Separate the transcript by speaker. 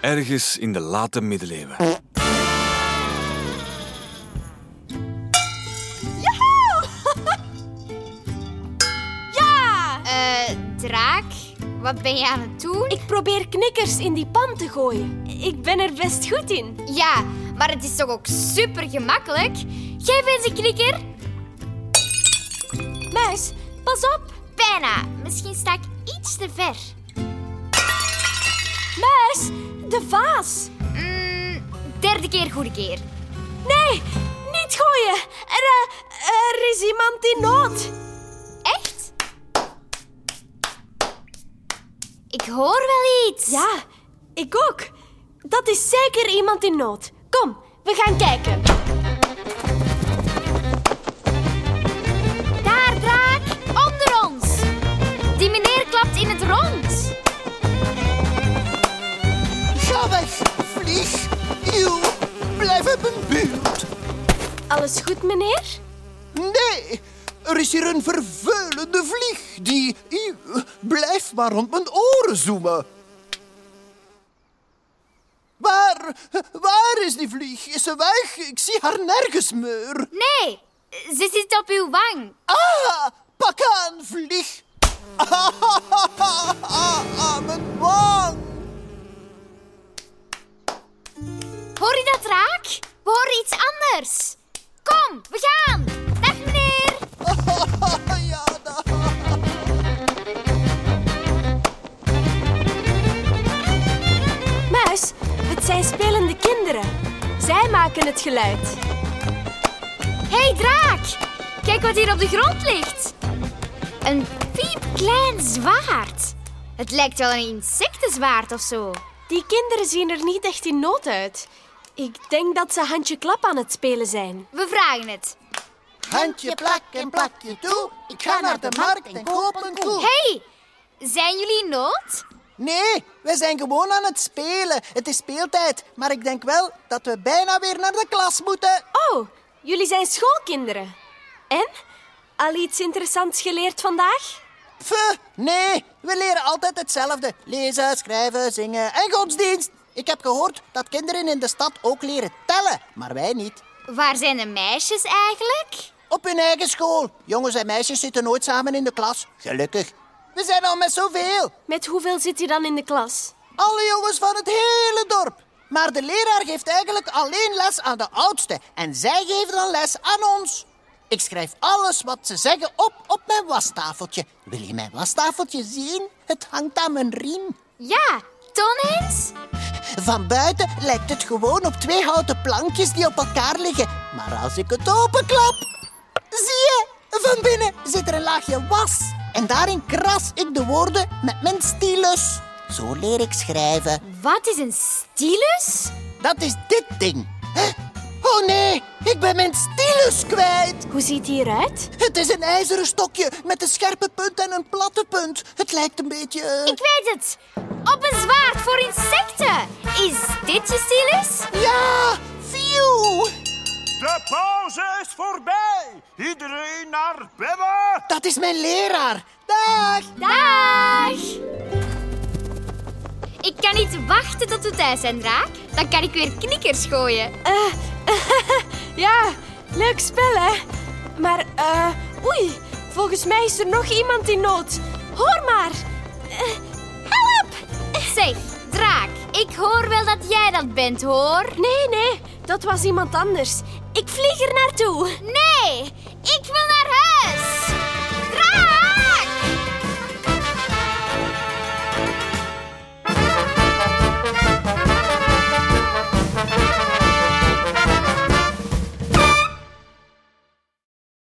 Speaker 1: ergens in de late middeleeuwen.
Speaker 2: Ja!
Speaker 3: Eh, draak, wat ben je aan het doen?
Speaker 2: Ik probeer knikkers in die pan te gooien. Ik ben er best goed in.
Speaker 3: Ja, maar het is toch ook super gemakkelijk? Geef eens een knikker.
Speaker 2: Muis, pas op!
Speaker 3: Bijna. Misschien sta ik iets te ver.
Speaker 2: Muis, de vaas!
Speaker 3: Mm, derde keer, goede keer.
Speaker 2: Nee, niet gooien! Er, eh, er is iemand in nood.
Speaker 3: Echt? Ik hoor wel iets.
Speaker 2: Ja, ik ook. Dat is zeker iemand in nood. Kom, we gaan kijken.
Speaker 3: Daar, draak, onder ons. Die meneer klapt in het rond.
Speaker 4: Ga weg, vlieg. Eeuw, blijf uit mijn buurt.
Speaker 2: Alles goed, meneer?
Speaker 4: Nee, er is hier een vervelende vlieg die... Eeuw, blijf maar rond mijn oren zoomen. Waar, waar is die vlieg? Is ze weg? Ik zie haar nergens meer.
Speaker 3: Nee, ze zit op uw wang.
Speaker 4: Ah, pak aan, vlieg. Ah, ah, ah, ah, ah, mijn wang.
Speaker 3: Hoor je dat raak? We horen iets anders. Kom, we gaan. Dag meneer.
Speaker 4: Ja, da.
Speaker 2: Muis, het zijn spelende kinderen. Zij maken het geluid.
Speaker 3: Hé hey, draak. Kijk wat hier op de grond ligt. Een piepklein zwaard. Het lijkt wel een insectenzwaard of zo.
Speaker 2: Die kinderen zien er niet echt in nood uit. Ik denk dat ze handje klap aan het spelen zijn.
Speaker 3: We vragen het.
Speaker 4: Handje plak en plakje toe. Ik ga naar de markt en koop een
Speaker 3: Hé,
Speaker 4: koe.
Speaker 3: hey, zijn jullie in nood?
Speaker 4: Nee, wij zijn gewoon aan het spelen. Het is speeltijd, maar ik denk wel dat we bijna weer naar de klas moeten.
Speaker 2: Oh, jullie zijn schoolkinderen. En? Al iets interessants geleerd vandaag?
Speaker 4: Pff, nee, we leren altijd hetzelfde. Lezen, schrijven, zingen en godsdienst. Ik heb gehoord dat kinderen in de stad ook leren tellen, maar wij niet.
Speaker 3: Waar zijn de meisjes eigenlijk?
Speaker 4: Op hun eigen school. Jongens en meisjes zitten nooit samen in de klas. Gelukkig. We zijn al met zoveel.
Speaker 2: Met hoeveel zit je dan in de klas?
Speaker 4: Alle jongens van het hele dorp. Maar de leraar geeft eigenlijk alleen les aan de oudste. En zij geven dan les aan ons. Ik schrijf alles wat ze zeggen op op mijn wastafeltje. Wil je mijn wastafeltje zien? Het hangt aan mijn riem.
Speaker 3: Ja, toon eens.
Speaker 4: Van buiten lijkt het gewoon op twee houten plankjes die op elkaar liggen. Maar als ik het openklap, zie je, van binnen zit er een laagje was. En daarin kras ik de woorden met mijn stylus. Zo leer ik schrijven.
Speaker 3: Wat is een stylus?
Speaker 4: Dat is dit ding. Hè? Oh nee, ik ben mijn stylus kwijt.
Speaker 2: Hoe ziet die eruit?
Speaker 4: Het is een ijzeren stokje met een scherpe punt en een platte punt. Het lijkt een beetje... eh,
Speaker 3: Ik weet het. Op een zwaard voor insecten. Is dit je stylus?
Speaker 4: Ja, view.
Speaker 5: De pauze is voorbij. Iedereen naar binnen.
Speaker 4: Dat is mijn leraar. Dag.
Speaker 3: Dag! Ik kan niet wachten tot we thuis zijn, Draak. Dan kan ik weer knikkers gooien.
Speaker 2: Eh, Ja, leuk spel, hè? Maar, eh, oei, volgens mij is er nog iemand in nood. Hoor maar! Eh, help!
Speaker 3: Zeg, Draak, ik hoor wel dat jij dat bent, hoor.
Speaker 2: Nee, nee, dat was iemand anders. Ik vlieg er naartoe.
Speaker 3: Nee, ik wil naar huis.